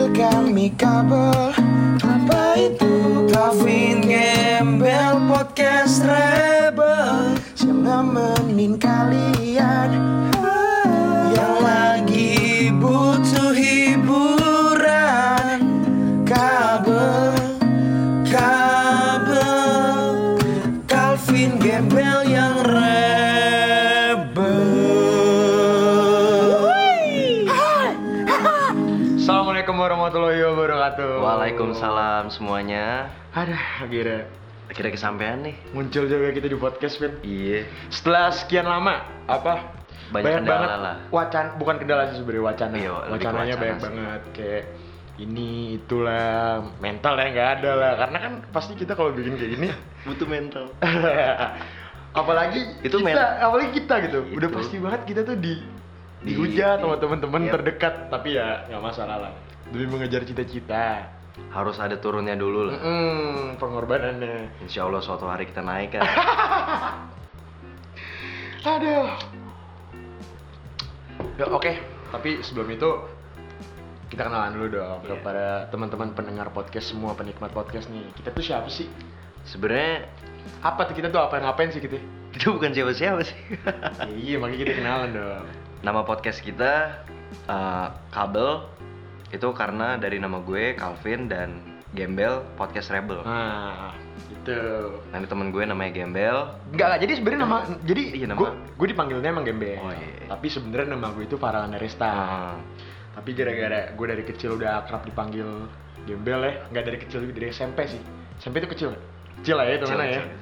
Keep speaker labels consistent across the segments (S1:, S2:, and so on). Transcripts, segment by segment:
S1: Kami kabel Apa itu
S2: Kavin Gembel Podcast Rebel
S1: Yang nemenin kalian
S2: Yang lagi butuh hiburan Kabel Kabel Calvin Gembel yang rebel
S3: Assalamualaikum warahmatullahi wabarakatuh.
S4: Waalaikumsalam semuanya.
S3: Aduh, akhirnya
S4: Akhirnya kesampaian nih.
S3: muncul juga kita di podcast Vin.
S4: Iya.
S3: Setelah sekian lama, apa?
S4: Banyak kendala lah.
S3: wacana, bukan kendala sih sebenarnya wacana.
S4: Iya, lebih ke
S3: Wacananya
S4: wacana
S3: banyak
S4: sih.
S3: banget kayak ini itulah mental ya nggak ada lah karena kan pasti kita kalau bikin kayak gini
S4: Butuh mental.
S3: apalagi
S4: Itu
S3: kita
S4: men- Iya,
S3: apalagi kita gitu
S4: Itu.
S3: udah pasti banget kita tuh di
S4: Di-
S3: dihujat
S4: di-
S3: sama teman-teman
S4: iya.
S3: terdekat tapi ya nggak masalah lah demi mengejar cita-cita
S4: Harus ada turunnya dulu lah.
S3: Mm-mm, pengorbanannya
S4: Insya Allah suatu hari kita naik kan.
S3: Aduh. Ya, oke, tapi sebelum itu kita kenalan dulu
S4: Iya.
S3: dong kepada teman-teman pendengar podcast semua penikmat podcast nih. Kita tuh siapa sih?
S4: Sebenarnya
S3: Apa tuh kita tuh apa ngapain sih gitu?
S4: kita bukan siapa-siapa sih.
S3: iya, makanya kita kenalan dong.
S4: nama podcast kita eh, Kabel itu karena dari nama gue Calvin dan Gembel Podcast Rebel.
S3: Nah, itu.
S4: Nanti temen gue namanya Gembel.
S3: Enggak lah, jadi sebenarnya nama jadi
S4: Iya, nama.
S3: gue gue dipanggilnya emang Gembe.
S4: Oh, iya.
S3: Tapi sebenarnya nama gue itu Farhan Resta.
S4: Ah,
S3: Tapi gara-gara gue dari kecil udah akrab dipanggil Gembel ya, nggak dari kecil dari SMP sih. SMP itu kecil, nggak? kecil lah ya itu
S4: kecil,
S3: mana ya.
S4: kecil, kecil.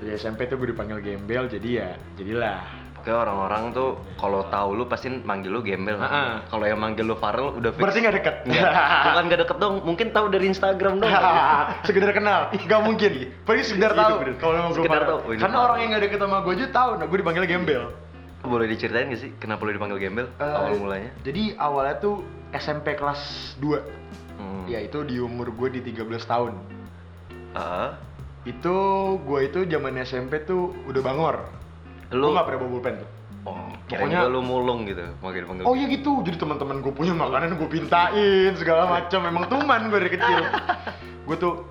S3: Dari SMP tuh gue dipanggil Gembel, jadi ya jadilah.
S4: Pokoknya orang-orang tuh kalau tahu lu pasti manggil lu Gembel.
S3: Ah, ah.
S4: Kalau yang manggil lu Farel udah fix.
S3: Berarti nggak deket.
S4: Nggak, bukan gak deket dong, mungkin tahu dari Instagram dong.
S3: sekedar kenal, nggak mungkin. Paling sekedar
S4: Iya,
S3: tahu.
S4: bener.
S3: Kalau emang gue
S4: Sekedar
S3: parah.
S4: tahu, oh, ini
S3: Karena
S4: parah.
S3: orang yang nggak deket sama gue aja tahu, nah gue dipanggil Gembel.
S4: Boleh diceritain gak sih kenapa lu dipanggil gembel awal
S3: Eh,
S4: mulanya?
S3: Jadi awalnya tuh SMP kelas 2
S4: Hmm.
S3: Ya itu di umur gue di 13 tahun.
S4: Ah,
S3: Itu gue itu zaman SMP tuh udah bangor. Lu
S4: lu
S3: gak pernah bawa pulpen tuh?
S4: Oh,
S3: Pokoknya-
S4: pokoknya lu mulung gitu, mau dipanggil.
S3: Oh iya gitu, jadi teman-teman gue punya makanan gue pintain segala macam. Emang tuman gue dari kecil. gue tuh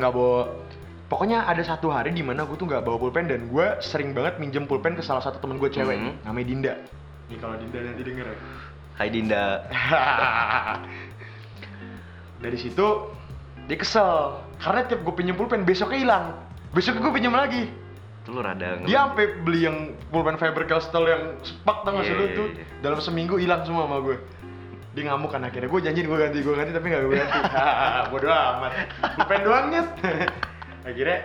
S3: nggak bawa. Pokoknya ada satu hari di mana gue tuh nggak bawa pulpen dan gue sering banget minjem pulpen ke salah satu temen gue cewek,
S4: Mhm.
S3: namanya Dinda. Nih kalau Dinda nanti denger ya.
S4: Hai Dinda.
S3: dari situ dia kesel karena tiap gue pinjem pulpen besoknya hilang. Besoknya gue pinjem lagi.
S4: Itu lu rada
S3: Dia sampai beli yang pulpen Faber Castell yang sepak tau gak sih
S4: Iya,
S3: lu
S4: iya,
S3: tuh
S4: iya.
S3: dalam seminggu hilang semua sama gue. Dia ngamuk kan akhirnya gue janji gue ganti gue ganti tapi gak gue ganti. Hahaha, Bodoh amat. Pulpen doang nyet. akhirnya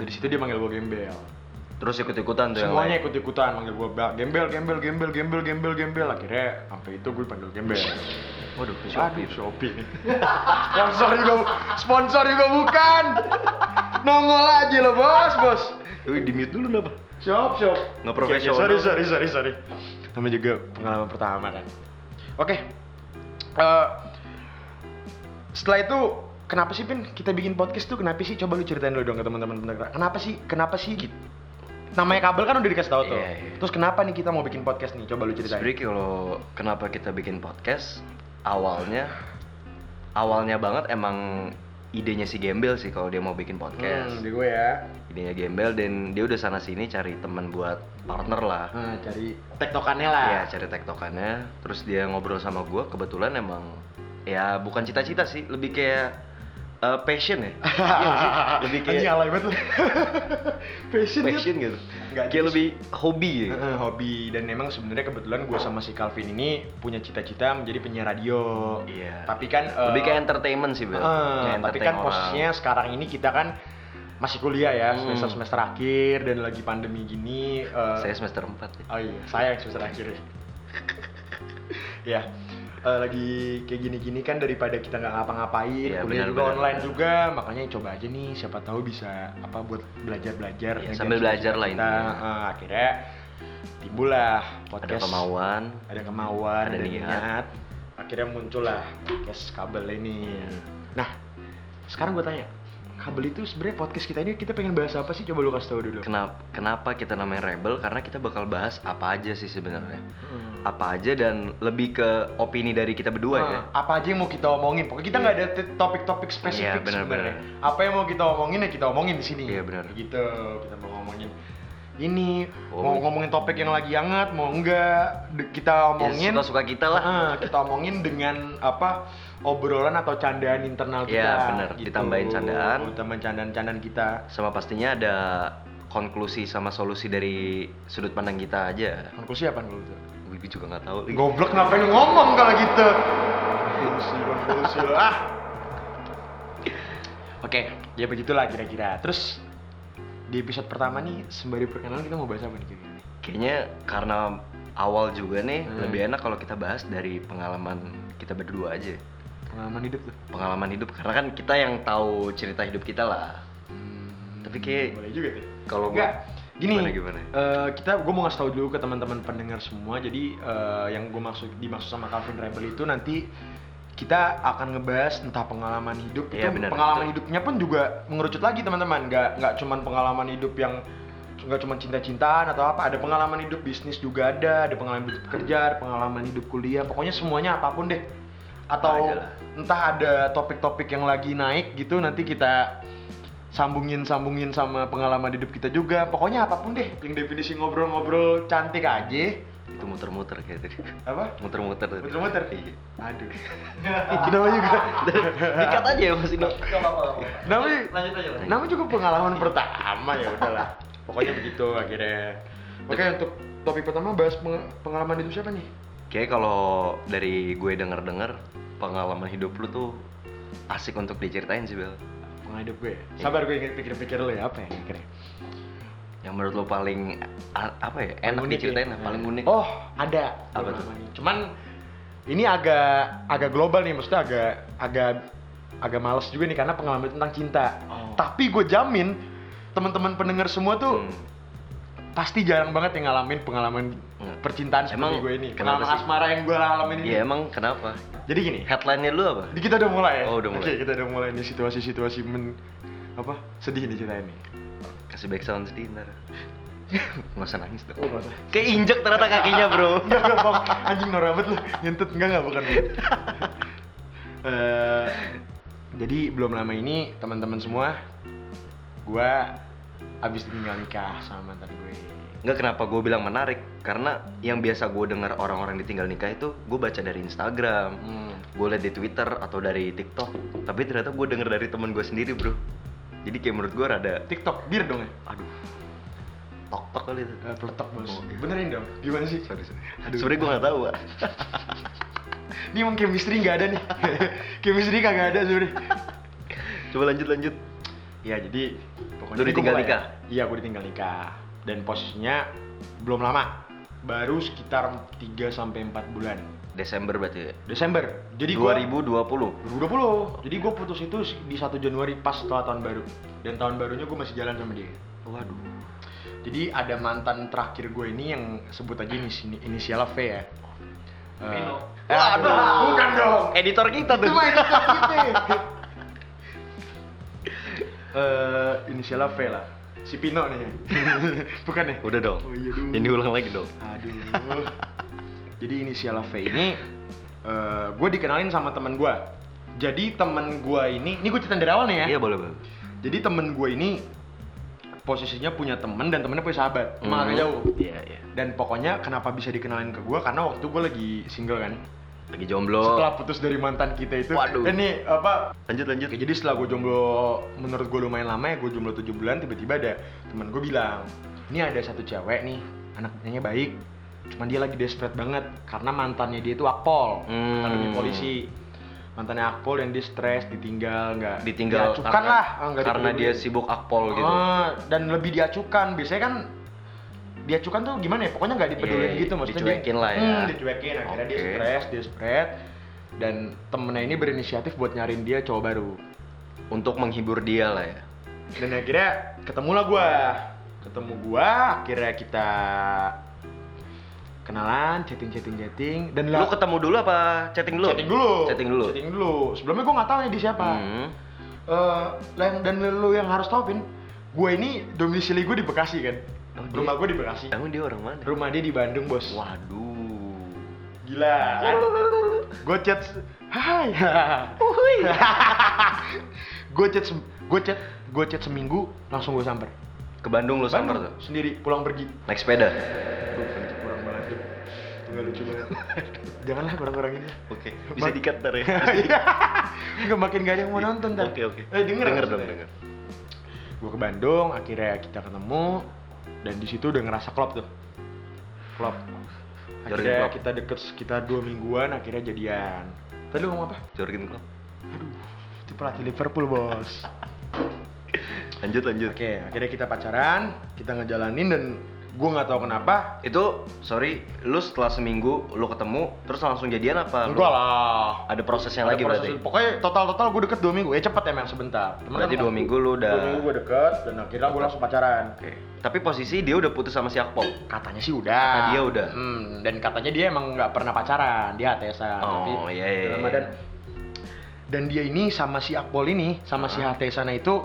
S3: dari situ dia manggil gue gembel.
S4: terus ikut-ikutan tuh yang
S3: Semuanya
S4: lain.
S3: ikut ikutan manggil gue gembel gembel gembel gembel gembel gembel akhirnya sampai itu gue panggil gembel.
S4: Waduh,
S3: Aduh,
S4: ya? ke Shopee. tuh.
S3: Shopee nih. sponsor juga sponsor juga bukan. Nongol aja lo bos bos.
S4: Wih, di mute dulu kenapa?
S3: Siap, siap.
S4: Nggak profesional.
S3: Oke, oke, Sorry, sorry, sorry, sorry. Namanya juga pengalaman pertama kan. Oke. Eh, setelah itu kenapa sih Pin kita bikin podcast tuh kenapa sih coba lu ceritain dulu dong ke teman-teman pendengar. Kenapa sih? Kenapa sih? Namanya kabel kan udah dikasih tahu tuh.
S4: Gitu. Iya, iya.
S3: Terus kenapa nih kita mau bikin podcast nih? Coba lu ceritain.
S4: Sebenernya kalau kenapa kita bikin podcast awalnya awalnya banget emang idenya si Gembel sih kalau dia mau bikin podcast.
S3: di gue ya.
S4: Idenya Gembel dan dia udah sana sini cari temen buat partner lah.
S3: Nah, cari tektokannya lah.
S4: Iya cari tektokannya terus dia ngobrol sama gua kebetulan emang ya bukan cita-cita sih lebih kayak eh, passion ya Iya nggak sih? lebih
S3: Anjing,
S4: kayak
S3: alay banget lu. Passion, ya.
S4: passion gitu
S3: Nggak
S4: kayak
S3: jadi.
S4: lebih hobi gitu.
S3: Eh, hobi dan memang sebenarnya kebetulan gue sama si Calvin ini punya cita-cita menjadi penyiar radio.
S4: Iya.
S3: Tapi kan eh,
S4: lebih kayak entertainment sih
S3: eh,
S4: Bel
S3: tapi kan posisinya sekarang ini kita kan masih kuliah ya
S4: Hmm.
S3: semester semester akhir dan lagi pandemi gini. eh,
S4: saya semester 4 ya.
S3: Oh iya, saya yang semester akhir ya. ya, eh, lagi kayak gini-gini kan daripada kita nggak ngapa-ngapain,
S4: Iya,
S3: kuliah
S4: benar,
S3: juga
S4: benar,
S3: online
S4: benar.
S3: juga, makanya coba aja nih, siapa tahu bisa apa buat belajar-belajar.
S4: Iya,
S3: ngejar
S4: sambil belajar lah
S3: cita-cita.
S4: intinya.
S3: Eh, akhirnya timbullah podcast.
S4: ada kemauan
S3: Ada kemauan,
S4: Ada
S3: ada,
S4: niat.
S3: niat.
S4: Iya.
S3: Akhirnya muncullah podcast kabel ini. Nah, sekarang gue tanya, kabel itu sebenarnya podcast kita ini kita pengen bahas apa sih coba lu kasih tahu dulu
S4: Kenapa kenapa kita namanya rebel? Karena kita bakal bahas apa aja sih sebenarnya.
S3: Hmm.
S4: Apa aja dan lebih ke opini dari kita berdua ya.
S3: Nah, apa aja yang mau kita omongin pokoknya kita nggak ada t- topik-topik spesifik
S4: Iya, benar,
S3: sebenarnya apa yang mau kita omongin ya kita omongin di sini
S4: Iya, benar.
S3: gitu kita mau ngomongin ini
S4: Oh.
S3: mau ngomongin topik yang lagi hangat mau enggak de-
S4: Iya,
S3: kita omongin
S4: suka-suka kita lah.
S3: Ah, kita omongin dengan apa obrolan atau candaan internal kita Gitu.
S4: Iya, benar. Ditambahin candaan.
S3: ditambahin candaan-candaan kita
S4: Sama pastinya ada konklusi sama solusi dari sudut pandang kita aja.
S3: konklusi apa lu tuh
S4: Gue gue juga nggak tahu.
S3: Goblok kenapa lu ngomong kalau gitu? Konklusi, konklusi lu ah. Oke, ya begitulah kira-kira. Terus di episode pertama nih sembari perkenalan kita mau bahas apa nih kira-kira?
S4: Kayaknya karena awal juga nih
S3: Hmm.
S4: lebih enak kalau kita bahas dari pengalaman kita berdua aja.
S3: Pengalaman hidup tuh.
S4: Pengalaman hidup karena kan kita yang tahu cerita hidup kita lah. Tapi kayak-
S3: Hmm, boleh juga tuh.
S4: Kalau gua-
S3: Enggak, gini.
S4: Gimana, gimana?
S3: eh, kita gue mau ngasih tahu dulu ke teman-teman pendengar semua. Jadi eh, yang gue maksud dimaksud sama Calvin Rebel itu nanti kita akan ngebahas entah pengalaman hidup itu
S4: Iya, benar,
S3: pengalaman
S4: betul.
S3: hidupnya pun juga mengerucut lagi teman-teman. Nggak nggak cuman pengalaman hidup yang nggak cuma cinta-cintaan atau apa ada pengalaman hidup bisnis juga ada ada pengalaman hidup kerja ada pengalaman hidup kuliah pokoknya semuanya apapun deh atau
S4: Apa aja lah.
S3: entah ada topik-topik yang lagi naik gitu nanti kita sambungin sambungin sama pengalaman hidup kita juga pokoknya apapun deh yang definisi ngobrol-ngobrol cantik aja
S4: Itu muter-muter kayak tadi.
S3: apa
S4: Muter-muter. tadi.
S3: muter-muter
S4: Iya.
S3: aduh kenapa juga
S4: Dikat aja ya Mas Indo.
S3: namanya
S2: Lanjut aja, lanjut.
S3: namanya juga pengalaman pertama ya udahlah pokoknya begitu akhirnya oke untuk topik pertama bahas peng- pengalaman hidup siapa nih
S4: Kayak kalau dari gue denger-denger pengalaman hidup lu tuh asik untuk diceritain sih Bel.
S3: pengalaman hidup gue sabar gue ingin pikir-pikir dulu ya apa ya kira
S4: Yang menurut lu paling a- apa ya? Enak diceritain lah, paling unik.
S3: Oh, ada.
S4: Apa
S3: Belum
S4: tuh?
S3: lama nih. Cuman ini agak agak global nih, maksudnya agak agak agak males juga nih karena pengalaman tentang cinta.
S4: Oh.
S3: Tapi gue jamin teman-teman pendengar semua tuh
S4: Hmm.
S3: pasti jarang banget yang ngalamin pengalaman
S4: Hmm.
S3: percintaan seperti
S4: Emang
S3: gue ini.
S4: kenapa
S3: Pengalaman
S4: sih?
S3: asmara yang gue alamin ini.
S4: Iya emang kenapa?
S3: Jadi gini,
S4: Headline-nya lu apa?
S3: di kita udah mulai ya.
S4: Oh, udah mulai.
S3: Oke, kita udah mulai nih situasi-situasi men apa sedih nih ceritanya nih.
S4: Kasih back sound sedih ntar Nggak usah nangis dong
S3: Oh, nggak usah.
S4: Keinjek ternyata kakinya bro
S3: Enggak, enggak, Bang. Anjing norak banget lu. Ngentut enggak enggak bukan. bukan. Eh, jadi belum lama ini teman-teman semua gua abis tinggal nikah sama mantan gue.
S4: Nggak kenapa gue bilang menarik Karena yang biasa gue dengar orang-orang ditinggal nikah itu Gue baca dari Instagram
S3: Hmm.
S4: Gue liat di Twitter atau dari TikTok Tapi ternyata gue denger dari temen gue sendiri bro Jadi kayak menurut gue rada
S3: TikTok bir dong ya?
S4: Aduh gitu. Tok-tok kali itu
S3: Eh, peletok bos. Benerin dong. Gimana sih? Sorry, sorry.
S4: Sebenernya gue nggak tahu Pak.
S3: Ini emang chemistry nggak ada nih. chemistry kagak ada sebenernya.
S4: Coba lanjut-lanjut
S3: Iya jadi pokoknya
S4: Lu
S3: ini gua
S4: ditinggal
S3: mulai-
S4: nikah?
S3: Iya gue ditinggal nikah dan posisinya belum lama baru sekitar 3 sampai 4 bulan
S4: Desember berarti ya?
S3: Desember jadi gua- 2020
S4: 2020
S3: jadi gue putus itu di 1 Januari pas setelah tahun baru dan tahun barunya gue masih jalan sama dia
S4: Waduh
S3: jadi ada mantan terakhir gue ini yang sebut aja inis inisial V ya
S2: Vino.
S3: Eh, aduh, bukan dong
S4: Editor kita
S3: itu
S4: tuh
S3: mah inisial kita Eh, inisial V lah si Pino nih bukan ya
S4: Udah dong.
S3: Oh, iya dong.
S4: Ini ulang lagi dong.
S3: Aduh. Jadi inisial V ini gue dikenalin sama teman gue. Jadi temen gue ini, ini gue cerita dari awal nih ya.
S4: Iya boleh bang.
S3: Jadi temen gue ini posisinya punya temen dan temennya punya sahabat, cuma agak
S4: Hmm.
S3: jauh.
S4: Iya iya.
S3: Dan pokoknya kenapa bisa dikenalin ke gue karena waktu gue lagi single kan.
S4: Lagi jomblo.
S3: Setelah putus dari mantan kita itu,
S4: Oh. Waduh.
S3: ini apa?
S4: Lanjut lanjut.
S3: Oke, jadi setelah gue jomblo, menurut gue lumayan lama ya, gue jomblo 7 bulan, tiba-tiba ada temen gue bilang, ini ada satu cewek nih, anaknya baik, cuman dia lagi desperate banget, karena mantannya dia itu akpol,
S4: Hmm.
S3: akademi polisi. Mantannya akpol yang dia stres, ditinggal, nggak
S4: Ditinggal
S3: diacukan
S4: karena,
S3: lah, ah, nggak
S4: karena
S3: dipeduliin.
S4: dia sibuk akpol gitu.
S3: Ah, dan lebih diacukan, biasanya kan diacukan tuh gimana ya, pokoknya nggak dipedulin
S4: Iya,
S3: gitu maksudnya
S4: dicuekin lah ya.
S3: Hmm, dicuekin, akhirnya dia
S4: Oke.
S3: stres, dia stres, dan temennya ini berinisiatif buat nyariin dia cowok baru
S4: Untuk menghibur dia lah ya.
S3: dan akhirnya ketemulah gua ketemu gua akhirnya kita kenalan chatting chatting chatting dan
S4: Lu ketemu dulu apa chatting dulu?
S3: chatting dulu
S4: Chatting dulu.
S3: chatting dulu sebelumnya gua nggak tahu nih dia siapa
S4: Hmm.
S3: eh, Lan- dan lu yang harus tahu Pin gue ini domisili gue di Bekasi kan
S4: Oh, dia-
S3: rumah gue di Bekasi
S4: Emang dia orang mana?
S3: rumah dia di Bandung bos
S4: Waduh.
S3: gila kan? gue chat hai gue chat sem- gue chat gue chat seminggu langsung gue samper
S4: Ke Bandung lo samper
S3: Bandung,
S4: tuh.
S3: sendiri pulang pergi
S4: Naik sepeda.
S3: Aduh, anjing, kurang banget Jun. Nggak lucu banget janganlah kurang-kurang ini
S4: Oke.
S3: bisa
S4: dikat ntar ya.
S3: Iya. Enggak makin gak ada yang mau nonton ntar.
S4: Oke, oke.
S3: Eh Iya, denger
S4: Denger dong,
S3: maksudnya.
S4: denger.
S3: Gua ke Bandung, akhirnya kita ketemu dan di situ udah ngerasa klop tuh. Klop.
S4: Jaring
S3: Akhirnya
S4: klop.
S3: kita deket sekitar dua mingguan, akhirnya jadian. Tadi lu ngomong apa?
S4: Jorgen Klopp.
S3: Itu pelatih Liverpool bos.
S4: Lanjut lanjut.
S3: Oke, akhirnya kita pacaran, kita ngejalanin dan gua nggak tahu kenapa.
S4: Itu sorry, lu setelah seminggu lu ketemu terus langsung jadian apa? Lu-
S3: Enggak lah.
S4: Ada prosesnya
S3: Ada
S4: lagi
S3: proses-
S4: berarti.
S3: Pokoknya total total gue deket dua minggu. Ya cepet emang sebentar. Cuman
S4: Berarti
S3: kan
S4: dua minggu lu udah-
S3: Dua minggu gue deket dan akhirnya gue langsung pacaran.
S4: Oke. Tapi posisi dia udah putus sama si Akpol.
S3: Katanya sih udah.
S4: Kata dia udah.
S3: Hmm, dan katanya dia emang nggak pernah pacaran. Dia HTSan.
S4: Oh,
S3: Tapi
S4: iya, iya,
S3: dalam
S4: iya.
S3: badan- dan dia ini sama si Akpol ini, sama si HTSan itu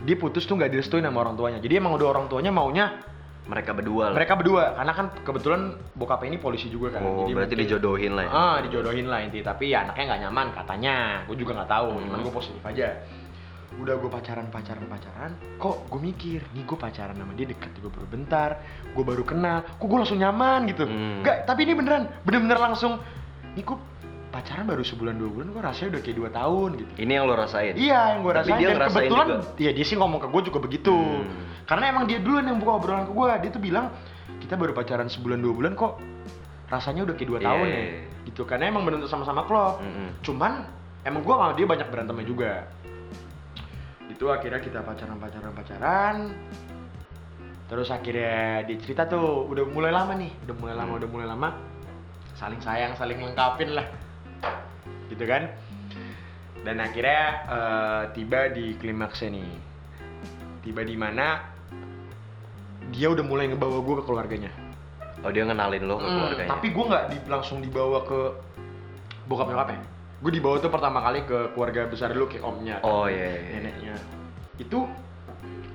S3: dia putus tuh nggak direstuin sama orang tuanya. Jadi emang udah orang tuanya maunya
S4: Mereka berdua lah.
S3: mereka berdua karena kan kebetulan bokapnya ini polisi juga kan.
S4: Oh,
S3: Jadi
S4: berarti
S3: mungkin-
S4: dijodohin lah ya.
S3: Ah, dijodohin lah inti. Tapi ya anaknya nggak nyaman katanya. Gue juga nggak tahu. Cuman
S4: Hmm.
S3: gue positif aja. Udah gue pacaran pacaran pacaran. Kok gue mikir nih gue pacaran sama dia deket gue baru bentar. Gue baru kenal. Kok gue langsung nyaman gitu.
S4: Hmm.
S3: Nggak. Tapi ini beneran bener-bener langsung. Nih gue pacaran baru sebulan dua bulan. Gue rasanya udah kayak dua tahun gitu.
S4: Ini yang lu rasain.
S3: Iya, yang gue
S4: Tapi
S3: rasain
S4: dia
S3: dan
S4: ngerasain
S3: kebetulan
S4: juga.
S3: ya dia sih ngomong ke gue juga begitu.
S4: Hmm.
S3: Karena emang dia duluan yang buka obrolan ke gue. Dia tuh bilang kita baru pacaran sebulan dua bulan kok rasanya udah kayak dua
S4: Iya, Hmm.
S3: tahun
S4: iya,
S3: ya.
S4: iya.
S3: Gitu karena emang bener sama-sama klop.
S4: Mm-mm.
S3: Cuman emang gue sama dia banyak berantemnya juga. Itu akhirnya kita pacaran pacaran pacaran. Terus akhirnya dia cerita tuh udah mulai lama nih, udah mulai lama, udah mulai lama saling sayang, saling lengkapin lah. Gitu kan? dan akhirnya eh, tiba di klimaksnya nih tiba di mana dia udah mulai ngebawa gue ke keluarganya
S4: Oh, dia ngenalin lo ke
S3: Hmm,
S4: keluarganya.
S3: tapi gue nggak di- langsung dibawa ke bokap nyokapnya gue dibawa tuh pertama kali ke keluarga besar dulu kayak omnya
S4: Oh, iya, iya, iya.
S3: neneknya itu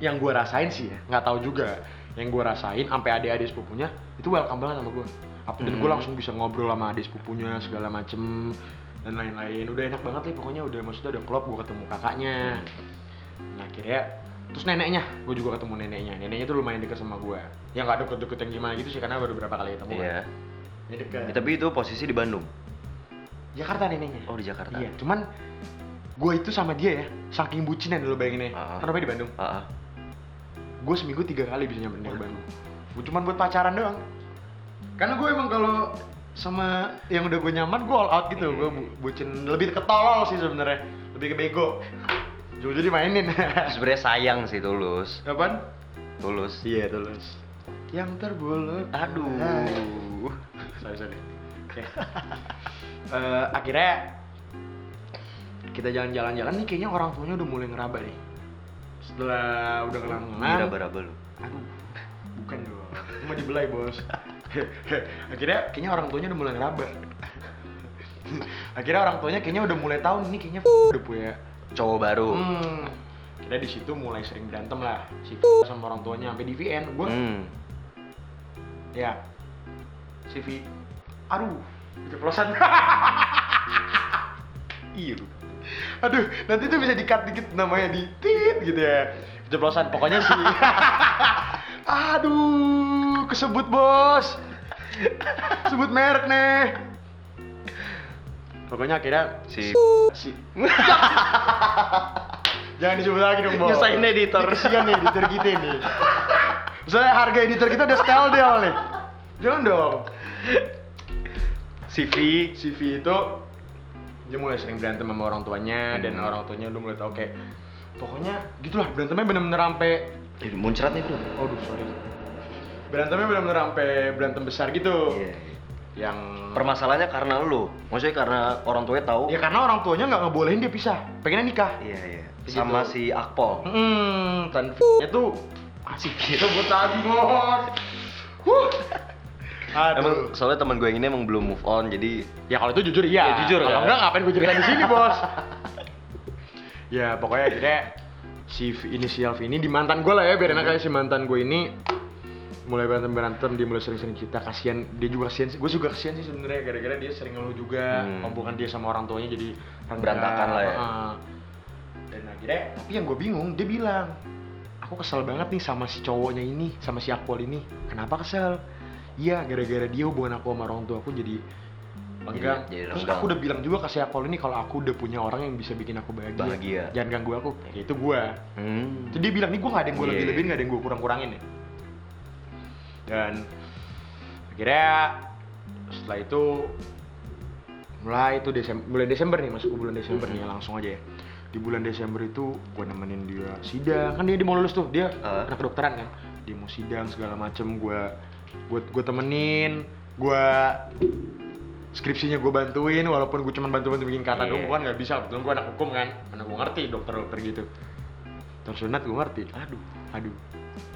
S3: yang gue rasain sih ya nggak tahu juga yang gue rasain sampai adik-adik sepupunya itu welcome banget sama gue Apa- dan gue
S4: Hmm.
S3: langsung bisa ngobrol sama adik sepupunya segala macem dan lain-lain udah enak banget nih pokoknya udah maksudnya udah klop gue ketemu kakaknya nah akhirnya terus neneknya gue juga ketemu neneknya neneknya tuh lumayan deket sama gue ya nggak deket-deket yang gimana gitu sih karena baru beberapa kali ketemu
S4: Iya.
S3: kan. ya deket
S4: Ya, tapi itu posisi di Bandung.
S3: Jakarta neneknya
S4: Oh, di Jakarta.
S3: iya cuman gue itu sama dia ya saking bucinnya dulu bayangin ya
S4: Ah.
S3: kan rumahnya di Bandung
S4: Ah, ah.
S3: gue seminggu tiga kali bisa nyamperin dia ke Bandung gue cuman buat pacaran doang karena gue emang kalau sama yang udah gue nyaman gue all out
S4: Hmm.
S3: gitu gue bu- bucin lebih ke tolol sih sebenarnya lebih ke bego jadi dimainin
S4: Sebenarnya sayang sih tulus.
S3: apaan?
S4: Tulus.
S3: iya tulus yang terbulut Hai.
S4: Aduh.
S3: sorry sorry Oke. Eh, akhirnya kita jalan-jalan-jalan nih kayaknya orang tuanya udah mulai ngeraba nih setelah udah kelangan
S4: Raba-raba lu.
S3: aduh bukan dong mau dibelai bos akhirnya kayaknya orang tuanya udah mulai ngeraba akhirnya orang tuanya kayaknya udah mulai tahu nih kayaknya udah punya
S4: Cowok baru.
S3: hmm akhirnya di situ mulai sering berantem lah si sama orang tuanya sampai di VN gue
S4: Hmm.
S3: ya si V aduh keceplosan iya lu. aduh nanti tuh bisa dikat dikit namanya di tit gitu ya keceplosan pokoknya si aduh kesebut bos sebut merek nih pokoknya akhirnya
S4: Si
S3: si jangan disebut lagi dong bos
S4: Nyusahin editor.
S3: Ini kesian nih editor kita nih misalnya harga editor kita udah setel deal nih jangan dong
S4: CV
S3: CV itu dia mulai sering berantem sama orang
S4: Hmm.
S3: tuanya dan orang tuanya udah mulai tau kayak pokoknya gitulah berantemnya bener-bener sampai
S4: Ih, muncrat nih bro.
S3: aduh sorry berantemnya bener-bener sampai berantem besar gitu
S4: Iya.
S3: yang
S4: Permasalahannya karena lu. Maksudnya karena orang tuanya tahu.
S3: ya karena orang tuanya nggak ngebolehin dia pisah pengennya nikah
S4: Iya, iya.
S3: Begitu.
S4: Sama si Akpol.
S3: Gitu. Hmm, dan nya tuh masih gitu buat tanggung. Huh.
S4: Emang
S3: Aduh.
S4: soalnya teman gue yang ini emang belum move on jadi
S3: ya kalau itu jujur iya.
S4: Ya, jujur,
S3: Kalau
S4: kan?
S3: enggak ngapain gue ceritain di sini, Bos? ya pokoknya akhirnya si V- inisial V ini di mantan gue lah ya biar enak aja si mantan gue ini mulai berantem berantem dia mulai sering-sering cerita kasihan dia juga kasihan sih gue juga kasihan sih sebenarnya gara-gara dia sering ngeluh juga
S4: Hmm.
S3: hubungan dia sama orang tuanya jadi rendah.
S4: Berantakan lah ya.
S3: Heeh. dan akhirnya tapi yang gue bingung dia bilang aku kesel banget nih sama si cowoknya ini sama si Akwal ini kenapa kesel iya gara-gara dia hubungan aku sama orang tua aku jadi enggak
S4: Iya, jadi
S3: terus
S4: renggang.
S3: aku udah bilang juga ke si Akwal ini kalau aku udah punya orang yang bisa bikin aku bahagia,
S4: Bahagia.
S3: jangan ganggu aku Ya, itu gue
S4: Hmm.
S3: jadi dia bilang nih gue gak ada yang gue
S4: Iya.
S3: lebih-lebihin, gak ada yang gue kurang-kurangin ya. Dan akhirnya setelah itu mulai itu Desem bulan Desember nih masuk ke bulan Desember
S4: Mm-hmm.
S3: nih langsung aja ya. Di bulan Desember itu gue nemenin dia sidang kan dia, dia mau lulus tuh dia
S4: Ah.
S3: anak kedokteran kan dia mau sidang segala macem gue gue gue temenin gue skripsinya gue bantuin walaupun gue cuma bantu-bantu bikin kata
S4: Iya.
S3: doang gue kan nggak bisa kebetulan gue anak hukum kan mana gue ngerti dokter-dokter gitu tersunat gue ngerti aduh aduh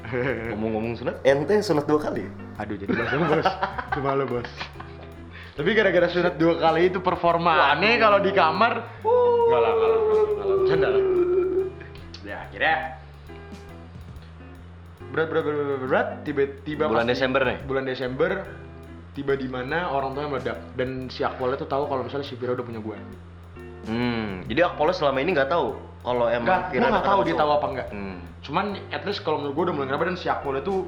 S4: Ngomong-ngomong sunat, ente sunat dua kali?
S3: aduh jadi bahasa lu, bos cuma lu bos tapi gara-gara sunat dua kali itu performa aneh kalau di kamar nggak lah nggak lah nggak lah bercanda lah ya akhirnya berat berat berat berat, berat, tiba-tiba
S4: Bulan
S3: pasti-
S4: Desember nih?
S3: bulan Desember tiba di mana orang tuanya meledak dan si Akwalnya tuh tahu kalau misalnya si Vira udah punya gue
S4: Hmm. Jadi Akpolo selama ini nggak tahu kalau emang
S3: Enggak, gue
S4: Vira
S3: nggak
S4: deket
S3: tahu
S4: sama
S3: dia
S4: cowok.
S3: tahu apa enggak
S4: Hmm.
S3: cuman at least kalau menurut gue udah mulai ngeraba dan si Akwalnya tuh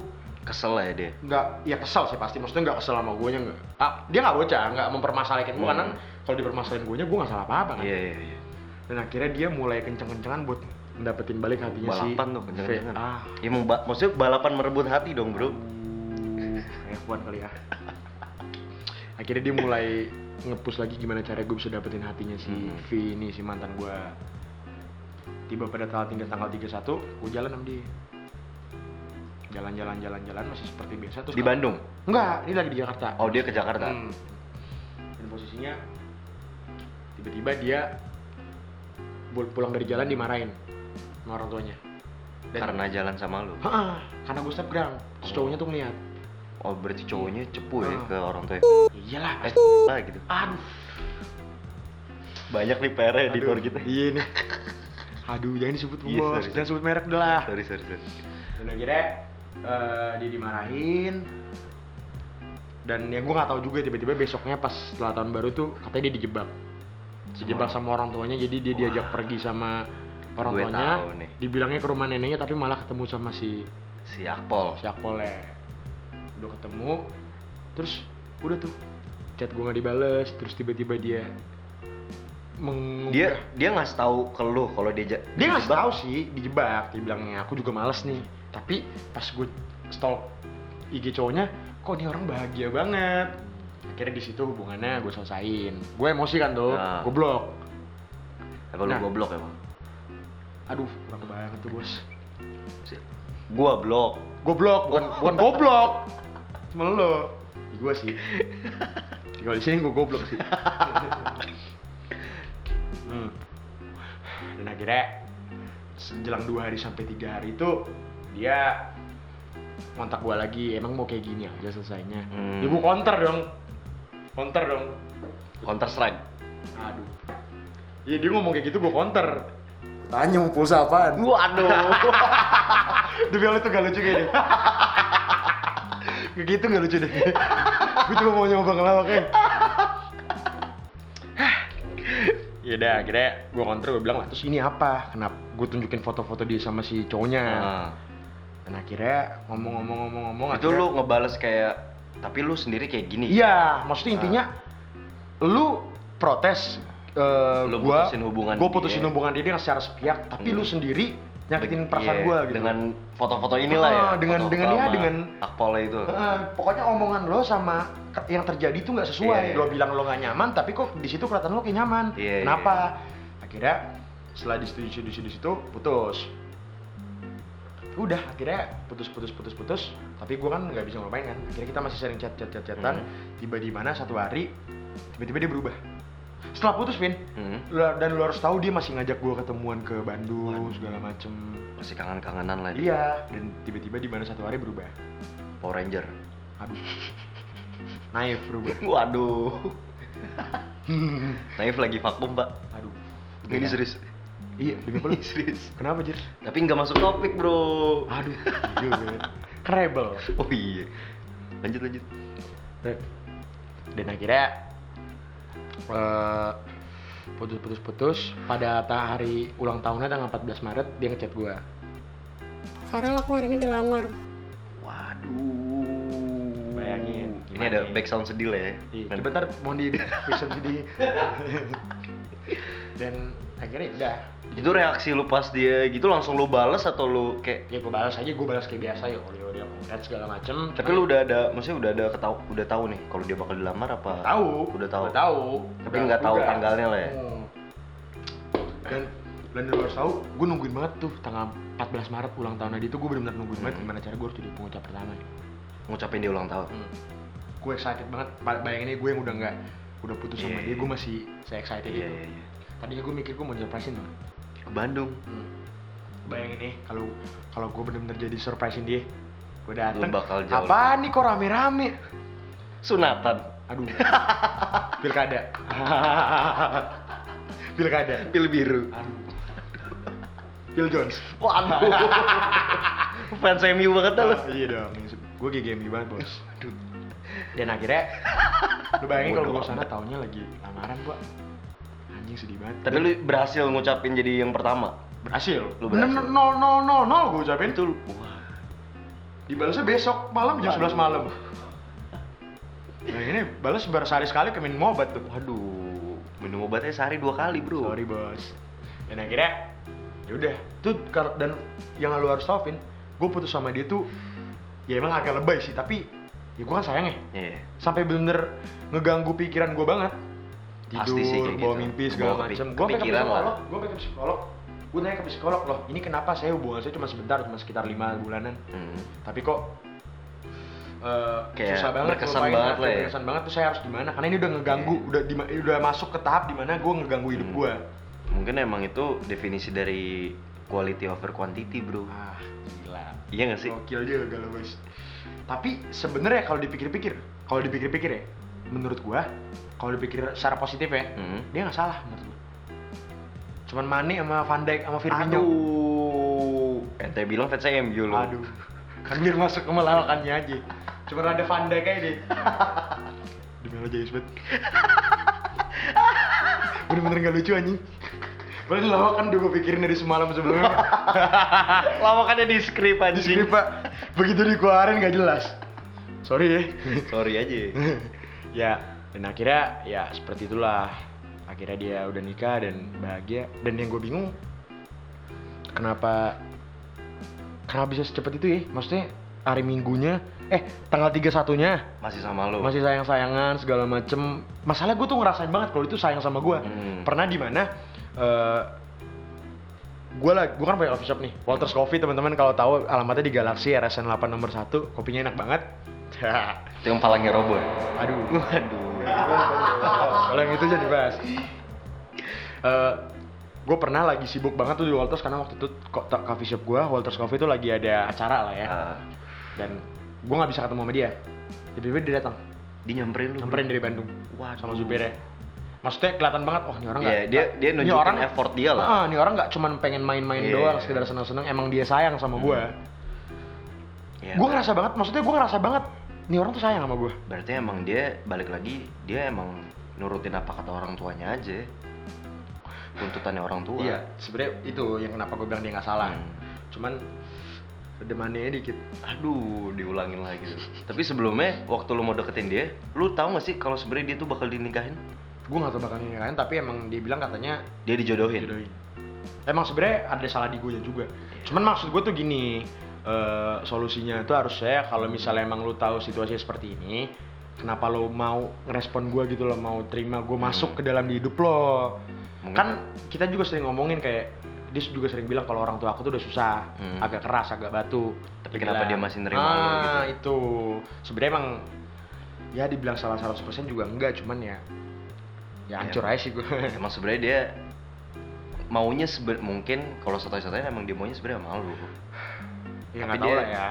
S4: Kesel lah ya dia.
S3: nggak ya kesel sih pasti maksudnya nggak kesel sama gue nya nggak ah, dia nggak bocah nggak mempermasalahkan gue
S4: Hmm.
S3: karena kalau dipermasalahin gue nya gue nggak salah apa apa kan
S4: Iya iya iya.
S3: dan akhirnya dia mulai kenceng-kencengan buat dapetin balik hatinya si
S4: Balapan tuh
S3: Fe.
S4: kenceng-kencengan.
S3: ah
S4: Ya mau ba- maksudnya balapan merebut hati dong bro.
S3: F1 kali ya akhirnya dia mulai ngepus lagi gimana cara gue bisa dapetin hatinya si
S4: Hmm.
S3: V ini si mantan gue tiba pada tanggal tiga tanggal 31 gue jalan sama dia jalan-jalan jalan-jalan masih seperti biasa terus
S4: Di Bandung.
S3: enggak ini lagi di Jakarta
S4: Oh dia ke Jakarta.
S3: Hmm. Dan posisinya tiba-tiba dia bul- pulang dari jalan dimarahin sama orang tuanya. Dan-
S4: Karena jalan sama lu.
S3: Heeh, karena gue snapgram. Terus cowoknya tuh ngeliat.
S4: Oh berarti cowoknya cepu ya
S3: Ah.
S4: ke orang tua.
S3: Ya Iyalah.
S4: Eh lah gitu.
S3: Aduh.
S4: Banyak nih PR di
S3: aduh,
S4: luar kita.
S3: Iya nih. Aduh, jangan disebut
S4: Iya,
S3: bos,
S4: sorry.
S3: jangan sebut merek udah lah.
S4: Sorry sorry sorry.
S3: Dan akhirnya eh, dia dimarahin. Dan ya gue nggak tahu juga tiba-tiba besoknya pas setelah tahun baru tuh katanya dia dijebak. Dijebak sama orang tuanya jadi dia diajak pergi sama orang
S4: Gue
S3: tuanya.
S4: tahu nih.
S3: Dibilangnya ke rumah neneknya tapi malah ketemu sama si
S4: Si Akpol.
S3: si Akpolnya. Udah ketemu terus udah tuh chat gue nggak dibales terus tiba-tiba dia mengunggah
S4: Dia dia ngasih tahu ke lu kalau dia ja-
S3: Iya. dia nggak
S4: dijebak.
S3: tahu sih dijebak dia bilangnya aku juga males nih tapi pas gue stalk IG cowoknya kok ini orang bahagia banget akhirnya di situ hubungannya gue selesain gue emosi kan tuh
S4: Nah.
S3: gue blok
S4: Apa lu ya,
S3: Nah.
S4: goblok emang?
S3: aduh kurang banget tuh bos
S4: Si- Gua blok.
S3: gue blok bukan bukan goblok cuma lo gue sih kalau di sini gue goblok sih hmm. dan akhirnya sejelang dua hari sampai tiga hari itu dia kontak gue lagi emang mau kayak gini aja selesainya
S4: Hmm.
S3: ya gue counter dong counter dong
S4: Counter strike.
S3: aduh Iya dia ngomong kayak gitu gue counter
S1: Tanya mau pulsa apaan?
S4: Waduh.
S3: Demi Allah itu gak lucu kayaknya Kayak gitu gak lucu deh Gitu Gue cuma mau nyoba ngelawaknya Ya udah akhirnya gue counter gue bilang lah terus ini apa? Kenapa gue tunjukin foto-foto dia sama si cowoknya
S4: Nah.
S3: Dan akhirnya ngomong-ngomong-ngomong-ngomong
S4: itu
S3: akhirnya-
S4: lu ngebales kayak tapi lu sendiri kayak
S3: Nah.
S4: gini
S3: Iya maksudnya intinya Lu protes eh,
S4: Ah. Lu
S3: gua,
S4: putusin hubungan
S3: Gue putusin
S4: dia.
S3: hubungan dia dengan secara sepihak Tapi
S4: Hmm.
S3: lu sendiri nyakitin
S4: Iya,
S3: perasaan gue gitu
S4: dengan foto-foto inilah ya
S3: Ah, dengan-
S4: foto-foto
S3: dengan ya,
S4: sama
S3: dengan- Ah.
S4: Akpol itu
S3: Heeh, pokoknya omongan lo sama ke- yang terjadi tuh nggak sesuai.
S4: Iya.
S3: Lo bilang lo nggak nyaman, tapi kok di situ kelihatan lo kayak nyaman.
S4: Iya,
S3: Kenapa? Akhirnya setelah di situ di situ di situ, di situ, putus. Udah akhirnya putus putus putus putus. Tapi gua kan nggak bisa ngapain kan. Akhirnya kita masih sering chat chat chat
S4: Hmm.
S3: chatan. Tiba di mana satu hari tiba-tiba dia berubah. Setelah putus Vin,
S4: Hmm,
S3: Lu- dan lo harus tahu dia masih ngajak gua ketemuan ke Bandung segala macem.
S4: masih kangen-kangenan lah dia
S3: Iya. Dan tiba-tiba di mana satu hari berubah.
S4: Power Ranger
S3: Habis. Naif berubah.
S4: waduh Naif lagi vakum pak
S3: Aduh.
S4: ini
S3: Beda.
S4: serius
S3: Iya, demi apa lu?
S4: Serius.
S3: Kenapa, Jir?
S4: Tapi nggak masuk topik, Bro.
S3: Aduh, jujur gue. Kan rebel.
S4: Oh iya. Lanjut lanjut.
S3: Dan akhirnya eh, putus-putus-putus pada ta- hari ulang tahunnya tanggal 14 Maret dia ngechat gua.
S5: Farel aku hari ini dilamar.
S4: Waduh.
S3: Bayangin,
S4: Ini ada
S3: gimana?
S4: back sound sedih lah ya.
S3: Iya,
S4: Nanti.
S3: Coba ntar mau di bisa jadi. Dan akhirnya ya udah,
S4: Itu reaksi lu pas dia gitu langsung lu balas atau lu kayak
S3: ya gue balas aja, gue balas kayak biasa ya, oli oli dan segala macem.
S4: tapi lu udah ada maksudnya udah ada ketau udah tahu nih kalau dia bakal dilamar apa?
S3: tahu,
S4: Udah tahu.
S3: udah tahu,
S4: Tapi
S3: Udah
S4: nggak tahu
S3: duga.
S4: tanggalnya lah ya.
S3: Hmm. Dan dan lu harus tahu, gue nungguin banget tuh tanggal 14 Maret ulang tahun Adi itu gue benar-benar nungguin banget gimana cara gue harus jadi pengucap pertama. Ya.
S4: Ngucapin dia ulang tahun.
S3: Gue excited banget, ba- bayanginnya gue yang udah nggak udah putus sama
S4: Iya,
S3: dia,
S4: iya.
S3: gue masih se excited
S4: Iya
S3: itu.
S4: iya iya.
S3: Tadinya gue mikir gue mau surprisein tuh.
S4: Ke Bandung.
S3: Bayangin nih kalau kalau gue bener-bener jadi surprisein dia, gue dateng.
S4: Lu bakal jauh.
S3: Apa nih kok rame-rame?
S4: Sunatan.
S3: Aduh. Pilkada. Pilkada.
S4: Pil biru.
S3: Phil Jones.
S4: Waduh. Fans MU banget dah lu.
S3: Ah, iya dong. Gue GGMI banget bos. Dan akhirnya, lu bayangin kalau gue sana tahunnya lagi lamaran gua. Anjing sedih banget.
S4: Tapi lu berhasil ngucapin jadi yang pertama.
S3: berhasil.
S4: Lu berhasil.
S3: Bener- No no no no, gue ucapin itu. Dibalasnya besok malam jam 11 malam. Nah ini balas baru sehari sekali ke minum obat tuh.
S4: Waduh. Minum obatnya sehari dua kali, Bro.
S3: Sorry bos. Dan akhirnya ya udah tuh kar- dan yang lu harus tahu Vin, gue putus sama dia tuh ya emang agak lebay sih tapi ya gue kan sayang ya
S4: Iya.
S3: sampai bener ngeganggu pikiran gue banget tidur
S4: Pasti sih kayak
S3: bawa
S4: gitu.
S3: mimpi segala
S4: Bawa kepi-
S3: macem gue pengen ke
S4: kepikiran lah.
S3: psikolog gue pengen ke psikolog gue nanya ke psikolog loh ini kenapa saya hubungan saya cuma sebentar cuma sekitar lima bulanan
S4: Hmm.
S3: tapi kok eh,
S4: Kayak
S3: susah banget
S4: berkesan
S3: ngelupain,
S4: banget lah ya. Iya.
S3: berkesan banget tuh saya harus gimana karena ini udah ngeganggu udah di, udah masuk ke tahap dimana gue ngeganggu hidup
S4: Hmm.
S3: gue
S4: Mungkin emang itu definisi dari quality over quantity, Bro.
S3: ah gila
S4: Iya gak sih?
S3: Gokil juga lo bos. Tapi sebenarnya kalau dipikir-pikir, kalau dipikir-pikir ya, menurut gua, kalau dipikir secara positif ya,
S4: Hmm.
S3: dia nggak salah menurut gua. Cuman Mane sama Van Dijk sama Firmino.
S4: Aduh. Ente bilang fans MU lu.
S3: Aduh. Kan biar masuk ke melalakannya aja. Cuman ada Van Dijk aja deh. Demi Allah jayus banget. Bener-bener nggak lucu anjing. Padahal lawak kan udah gua pikirin dari semalam sebelumnya.
S4: Lawakannya kan di skrip
S3: Di
S4: anjing.
S3: sini pak, begitu dikeluarin nggak jelas. Sorry ya.
S4: Sorry aja.
S3: ya dan akhirnya ya seperti itulah akhirnya dia udah nikah dan bahagia dan yang gue bingung kenapa kenapa bisa secepat itu ya maksudnya hari minggunya eh tanggal 31 nya
S4: Masih sama lu.
S3: masih sayang sayangan segala macem masalah gue tuh ngerasain banget kalau itu sayang sama gue
S4: Hmm.
S3: pernah di mana eh, gue lah gue kan punya coffee shop nih Walters Coffee teman-teman kalau tahu alamatnya di Galaxy RSN 8 nomor 1 kopinya enak banget
S4: Itu yang palangnya roboh.
S3: aduh
S4: Waduh.
S3: kalau yang itu jadi bahas. gue pernah lagi sibuk banget tuh di Walters karena waktu itu ko- ta- coffee shop gue, Walters Coffee itu lagi ada acara lah ya.
S4: Ah,
S3: Dan gue nggak bisa ketemu sama dia. Tiba-tiba dia datang,
S4: dia nyamperin lu. bro. Iya,
S3: nyamperin dari Bandung
S4: Waduh.
S3: sama supirnya. Maksudnya kelihatan banget, wah ini orang
S4: Iya,
S3: nggak.
S4: dia dia
S3: ini
S4: nunjukin
S3: orang-
S4: effort dia lah.
S3: Ah, ini orang nggak cuman pengen main-main
S4: Iya.
S3: doang, sekedar seneng-seneng. Emang dia sayang sama gue.
S4: Iya,
S3: Gue ngerasa banget, maksudnya gue ngerasa banget, ini orang tuh sayang sama gue.
S4: Berarti emang dia balik lagi dia emang nurutin apa kata orang tuanya aja. Tuntutannya orang tua.
S3: Iya, sebenarnya itu yang kenapa gue bilang dia nggak salah.
S4: Hmm.
S3: Cuman demannya dikit.
S4: Aduh, diulangin lagi. Tapi sebelumnya waktu lu mau deketin dia, lu tahu gak sih kalau sebenarnya dia tuh bakal dinikahin?
S3: Gue nggak tahu bakal nikahin, tapi emang dia bilang katanya
S4: Dia dijodohin.
S3: jodohin. Emang sebenarnya ada salah di gue juga. Cuman maksud gue tuh gini, eh, solusinya tuh harusnya kalau misalnya emang lu tahu situasi seperti ini, kenapa lo mau ngerespon gue gitu lo mau terima
S4: Hmm.
S3: gue masuk ke dalam hidup lo.
S4: Mungkin-
S3: Kan kita juga sering ngomongin kayak dia juga sering bilang kalau orang tua aku tuh udah susah,
S4: Hmm.
S3: agak keras, agak batu.
S4: Tapi kenapa dia masih nerima
S3: ah,
S4: lo gitu?"
S3: itu. Sebenarnya emang ya dibilang salah 100% juga enggak, cuman ya
S4: Iya.
S3: ya hancur aja sih gue.
S4: Emang sebenarnya dia maunya seben mungkin kalau satu-satunya emang dia maunya sebenarnya malu.
S3: Ya
S4: Tapi
S3: nggak tahu
S4: dia-
S3: lah ya.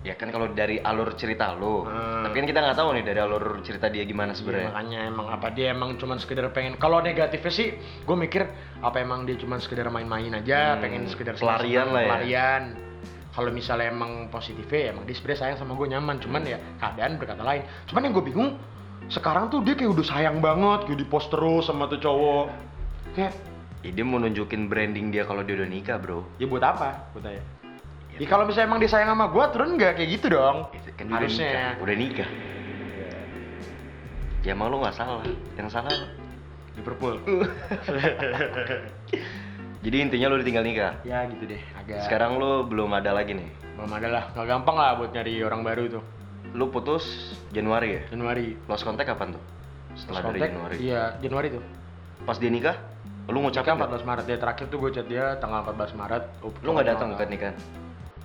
S4: ya kan kalau dari alur cerita lo
S3: Hmm.
S4: tapi kan kita nggak tahu nih dari alur cerita dia gimana
S3: Iya,
S4: sebenarnya
S3: makanya emang apa dia emang cuman sekedar pengen kalau negatifnya sih gue mikir apa emang dia cuman sekedar main-main aja
S4: Hmm,
S3: pengen sekedar
S4: pelarian
S3: senang-senang,
S4: lah ya.
S3: pelarian kalau misalnya emang positifnya ya emang dia sebenarnya sayang sama gue nyaman cuman ya keadaan berkata lain cuman yang gue bingung sekarang tuh dia kayak udah sayang banget kayak di post terus sama tuh cowok kayak
S4: Ya, dia mau nunjukin branding dia kalau dia udah nikah bro
S3: ya buat apa gue tanya ya,
S4: Iya.
S3: kalau misalnya emang dia sayang sama gue turun nggak kayak gitu dong
S4: Itu kan dia
S3: harusnya
S4: udah nikah udah nikah ya emang lo nggak salah yang salah lo.
S3: Liverpool
S4: jadi intinya lo ditinggal nikah
S3: ya gitu deh agak
S4: sekarang lo belum ada lagi nih
S3: belum ada lah nggak gampang lah buat nyari orang baru tuh
S4: lo putus Januari ya
S3: Januari
S4: lost contact kapan tuh setelah
S3: Terus
S4: dari
S3: kontak,
S4: Januari
S3: Iya, Januari tuh.
S4: pas dia nikah lo ngucapin
S3: Nikah
S4: nggak?
S3: 14 Maret. Ya terakhir tuh gue chat dia tanggal 14 Maret. Oh,
S4: lo nggak datang ke nikahan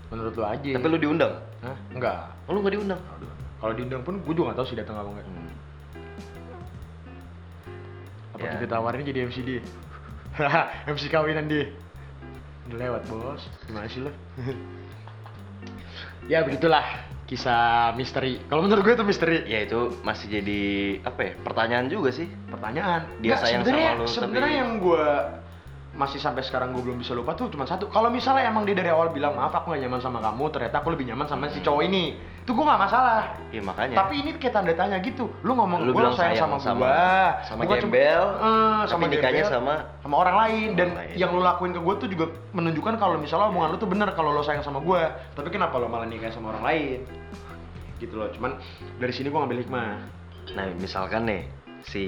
S3: Menurut lu aja.
S4: tapi lo diundang
S3: Hah? Enggak.
S4: oh, lo nggak diundang
S3: Kalau diundang pun gue juga nggak tahu sih datang apa enggak.
S4: Hmm.
S3: Apa
S4: Ya.
S3: kita tawarin jadi MC dia? Haha, MC kawinan dia. Udah lewat, Bos. Gimana sih lo? ya begitulah kisah misteri. Kalau menurut gue itu misteri.
S4: ya itu masih jadi apa ya pertanyaan juga sih
S3: pertanyaan
S4: Dia sayang sama
S3: sebenarnya-
S4: lu, tapi-
S3: sebenarnya yang gue masih sampai sekarang gue belum bisa lupa tuh cuma satu kalau misalnya emang dia dari awal bilang maaf aku gak nyaman sama kamu ternyata aku lebih nyaman sama si cowok ini itu gue gak masalah
S4: ya makanya
S3: tapi ini kayak tanda tanya gitu lu ngomong
S4: Lu
S3: gue
S4: bilang
S3: sayang,
S4: sayang
S3: sama,
S4: sama-
S3: gua
S4: sama
S3: Bukan cuma-
S4: gembel,
S3: Eh,
S4: tapi
S3: sama
S4: nikahnya
S3: gembel,
S4: sama-
S3: sama orang lain dan
S4: Orang lain.
S3: yang lu lakuin ke gue tuh juga menunjukkan kalau misalnya omongan lu tuh bener kalau lo sayang sama gue tapi kenapa lo malah nikah sama orang lain gitu loh cuman dari sini gue ngambil hikmah
S4: nah misalkan nih si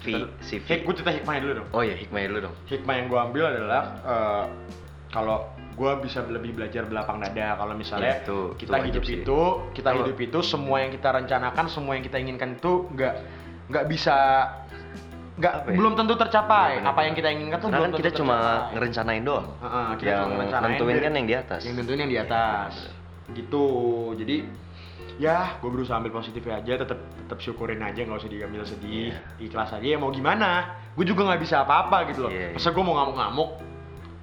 S4: V si
S3: Hik-
S4: V
S3: gue cerita hikmahnya dulu dong
S4: oh ya hikmah dulu dong
S3: hikmah yang gue ambil adalah eh, kalau gue bisa lebih belajar belapang dada kalau misalnya
S4: Ya, itu- itu
S3: kita
S4: wajib
S3: hidup
S4: sih.
S3: itu kita
S4: Kalau-
S3: hidup itu semua yang kita rencanakan semua yang kita inginkan itu nggak nggak bisa
S4: Apa
S3: nggak
S4: ya?
S3: belum tentu tercapai
S4: Iya, benar.
S3: apa yang kita inginkan tuh
S4: Karena
S3: belum
S4: kan
S3: tentu
S4: kita cuma
S3: tercapai.
S4: ngerencanain doang.
S3: Heeh, kita
S4: yang
S3: cuma ngerencanain
S4: nentuin
S3: dari-
S4: kan yang di atas.
S3: yang tentuin yang di atas gitu jadi ya gue berusaha ambil positifnya aja tetap tetap syukurin aja nggak usah diambil sedih
S4: Iya.
S3: ikhlas aja ya mau gimana gue juga nggak bisa apa-apa gitu loh
S4: Iya, iya.
S3: masa gue mau ngamuk-ngamuk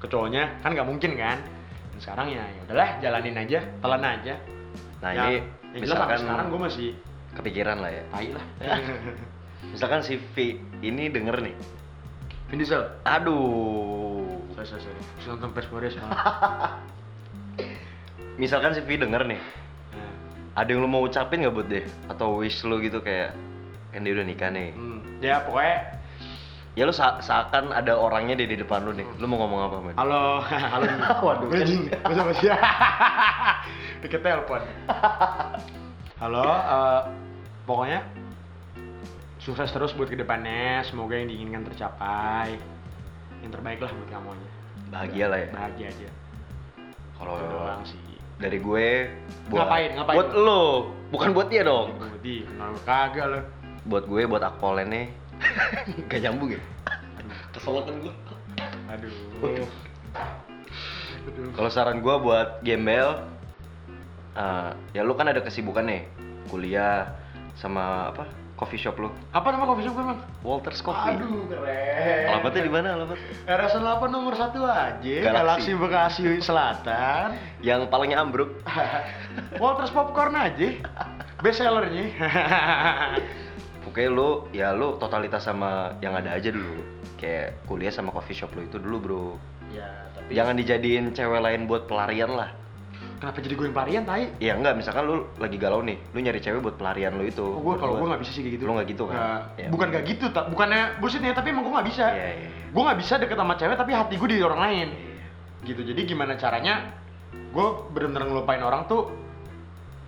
S3: ke cowoknya kan nggak mungkin kan dan sekarang ya ya udahlah jalanin aja telan aja
S4: Nah,
S3: Ya,
S4: ini
S3: yang jelas sampai
S4: misalkan
S3: sekarang gue masih
S4: kepikiran lah ya.
S3: tai lah
S4: Misalkan si V ini denger nih.
S3: Vin Diesel
S4: Aduh.
S3: sorry sorry sorry Terus nonton Fast Furious malah.
S4: Misalkan si V denger nih.
S3: Nah,
S4: Ada yang lu mau ucapin nggak buat deh? Atau wish lu gitu kayak kan dia udah nikah nih.
S3: hmm. ya pokoknya
S4: Ya lu se- seakan ada orangnya di di depan lu nih. Lu mau ngomong apa, men?
S3: Halo, halo.
S4: Waduh,
S3: Gue
S4: kan-
S3: jing, gue sama dia. Deket telepon. Halo, eh, pokoknya sukses terus buat kedepannya. Semoga yang diinginkan tercapai. Yang terbaik lah buat kamunya.
S4: Bahagia lah ya.
S3: Bahagia aja.
S4: Kalau
S3: Itu doang sih.
S4: dari gue buat
S3: Ngapain, ngapain?
S4: buat lu, bukan buat dia dong.
S3: Berarti kenal lu kagak lo.
S4: buat gue buat akpolen nih gak nyambung ya keselokan gue
S3: Aduh.
S4: kalau saran gue buat gembel eh, ya lu kan ada kesibukan nih kuliah sama apa coffee shop lu
S3: Apa nama kopi shop gue, Bang?
S4: Walters Coffee
S3: Aduh, keren.
S4: alamatnya di mana alamat
S3: RS 8 nomor 1 aja,
S4: Galaxy.
S3: Galaxy Bekasi Selatan.
S4: yang palingnya ambruk
S3: Walters popcorn aja. Best sellernya.
S4: pokoknya lu ya lu totalitas sama yang ada aja dulu kayak kuliah sama coffee shop lu itu dulu bro
S3: ya, tapi
S4: jangan dijadiin cewek lain buat pelarian lah
S3: kenapa jadi gue yang pelarian tai?
S4: ya enggak misalkan lu lagi galau nih lu nyari cewek buat pelarian lu itu
S3: Oh, gue kalau gue nggak bisa sih kayak gitu.
S4: Lu nggak gitu kan?
S3: Nggak.
S4: Ya.
S3: Bukan nggak gitu, tak. bukannya bullshitnya, tapi emang gue nggak bisa.
S4: Iya, iya, iya.
S3: Gue nggak bisa deket sama cewek, tapi hati gue di orang lain.
S4: Iya.
S3: Gitu. Jadi gimana caranya? Gue bener-bener ngelupain orang tuh.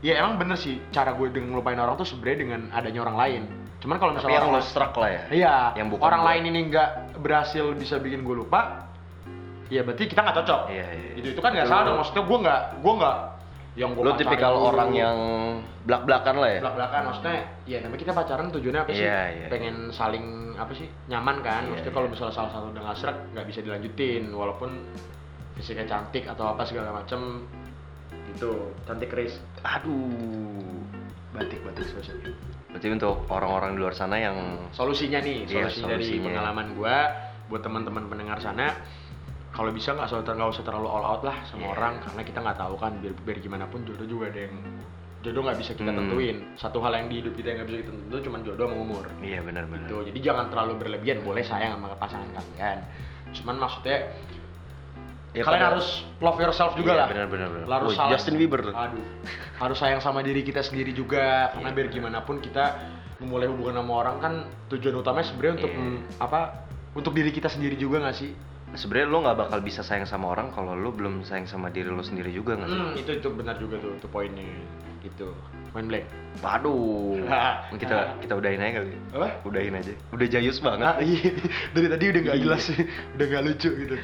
S3: Ya emang bener sih cara gue dengan ngelupain orang tuh sebenarnya dengan adanya orang lain. Cuman kalau
S4: tapi
S3: misalnya
S4: yang lo
S3: orang
S4: struck lah ya
S3: Iya.
S4: yang bukan
S3: orang
S4: gua.
S3: lain ini nggak berhasil bisa bikin gue lupa. Ya berarti kita nggak cocok.
S4: Iya, iya.
S3: Itu itu kan nggak salah dong. Maksudnya gue nggak gue nggak yang gue
S4: lo tipikal orang yang belak belakan lah ya
S3: belak belakan maksudnya ya namanya kita pacaran tujuannya apa sih
S4: Iya, iya.
S3: pengen saling apa sih nyaman kan
S4: Iya,
S3: maksudnya kalau
S4: iya.
S3: misalnya salah satu udah nggak srek nggak bisa dilanjutin walaupun fisiknya cantik atau apa segala macem itu cantik Chris
S4: aduh
S3: batik batik sosial
S4: berarti untuk orang-orang di luar sana yang
S3: solusinya nih
S4: Iya,
S3: solusi dari
S4: solusinya.
S3: pengalaman gua buat teman-teman pendengar sana kalau bisa nggak usah nggak usah terlalu all out lah sama
S4: Iya.
S3: orang karena kita nggak tahu kan biar biar gimana pun jodoh juga ada yang jodoh nggak bisa kita
S4: Hmm.
S3: tentuin satu hal yang di hidup kita yang nggak bisa kita tentuin cuma jodoh sama umur
S4: Iya benar-benar.
S3: gitu jadi jangan terlalu berlebihan boleh sayang sama pasangan kalian cuman maksudnya
S4: Ya,
S3: kalian
S4: pada-
S3: harus love yourself juga
S4: Iya,
S3: lah
S4: benar, benar, benar.
S3: harus
S4: Wih,
S3: saling-
S4: Justin Bieber tuh. Iya,
S3: aduh harus sayang sama diri kita sendiri juga karena biar gimana pun kita memulai hubungan sama orang kan tujuan utamanya sebenarnya untuk
S4: Iya.
S3: mm, apa untuk diri kita sendiri juga nggak sih
S4: Sebenarnya lo nggak bakal bisa sayang sama orang kalau lo belum sayang sama diri lo sendiri juga nggak sih?
S3: Hmm, itu itu benar juga tuh itu poinnya gitu main blank
S4: Waduh. kita kita udahin aja kali.
S3: apa
S4: Udahin aja. Udah jayus
S3: Ah,
S4: banget.
S3: iya. dari tadi udah nggak
S4: Iya.
S3: jelas udah nggak lucu gitu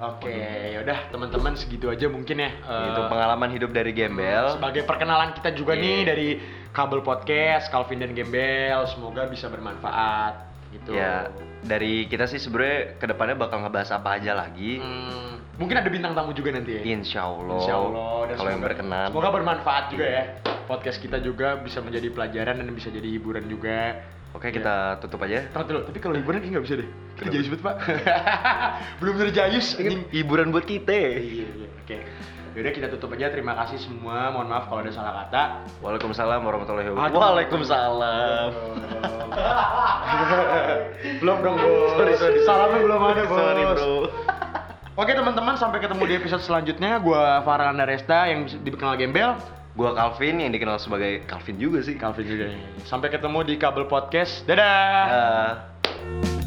S3: oke yaudah teman-teman segitu aja mungkin ya eh,
S4: Itu pengalaman hidup dari gembel.
S3: Sebagai perkenalan kita juga
S4: Iya.
S3: nih dari Kabel Podcast, Calvin dan Gembel, semoga bisa bermanfaat gitu.
S4: Ya dari kita sih sebenarnya kedepannya bakal ngebahas apa aja lagi.
S3: Hmm, mungkin ada bintang tamu juga nanti ya.
S4: Insya Allah.
S3: Insya Allah. dan
S4: Kalau yang
S3: semoga-
S4: berkenan.
S3: Semoga bermanfaat juga ya. Podcast kita juga bisa menjadi pelajaran dan bisa jadi hiburan juga.
S4: Oke kita tutup aja.
S3: Terus dulu, tapi kalau hiburan kayaknya nggak bisa deh. Kita
S4: Kenapa?
S3: jayus banget, Pak. Belum terjayus. anjing.
S4: Hiburan buat kita.
S3: Iya, iya, Oke. Yaudah kita tutup aja. Terima kasih semua. Mohon maaf kalau ada salah kata.
S4: Waalaikumsalam warahmatullahi wabarakatuh.
S3: Aduh.
S4: Waalaikumsalam.
S3: belum dong, Bos.
S4: Sorry, sorry, sorry.
S3: Salamnya belum ada, Bos.
S4: Sorry, bro.
S3: Oke, teman-teman, sampai ketemu di episode selanjutnya. Gua Farhan Daresta yang bisa dikenal Gembel.
S4: Gua Calvin yang dikenal sebagai Calvin juga sih.
S3: Ah. Calvin juga. Sampai ketemu di Kabel Podcast. Dadah.
S4: Ah.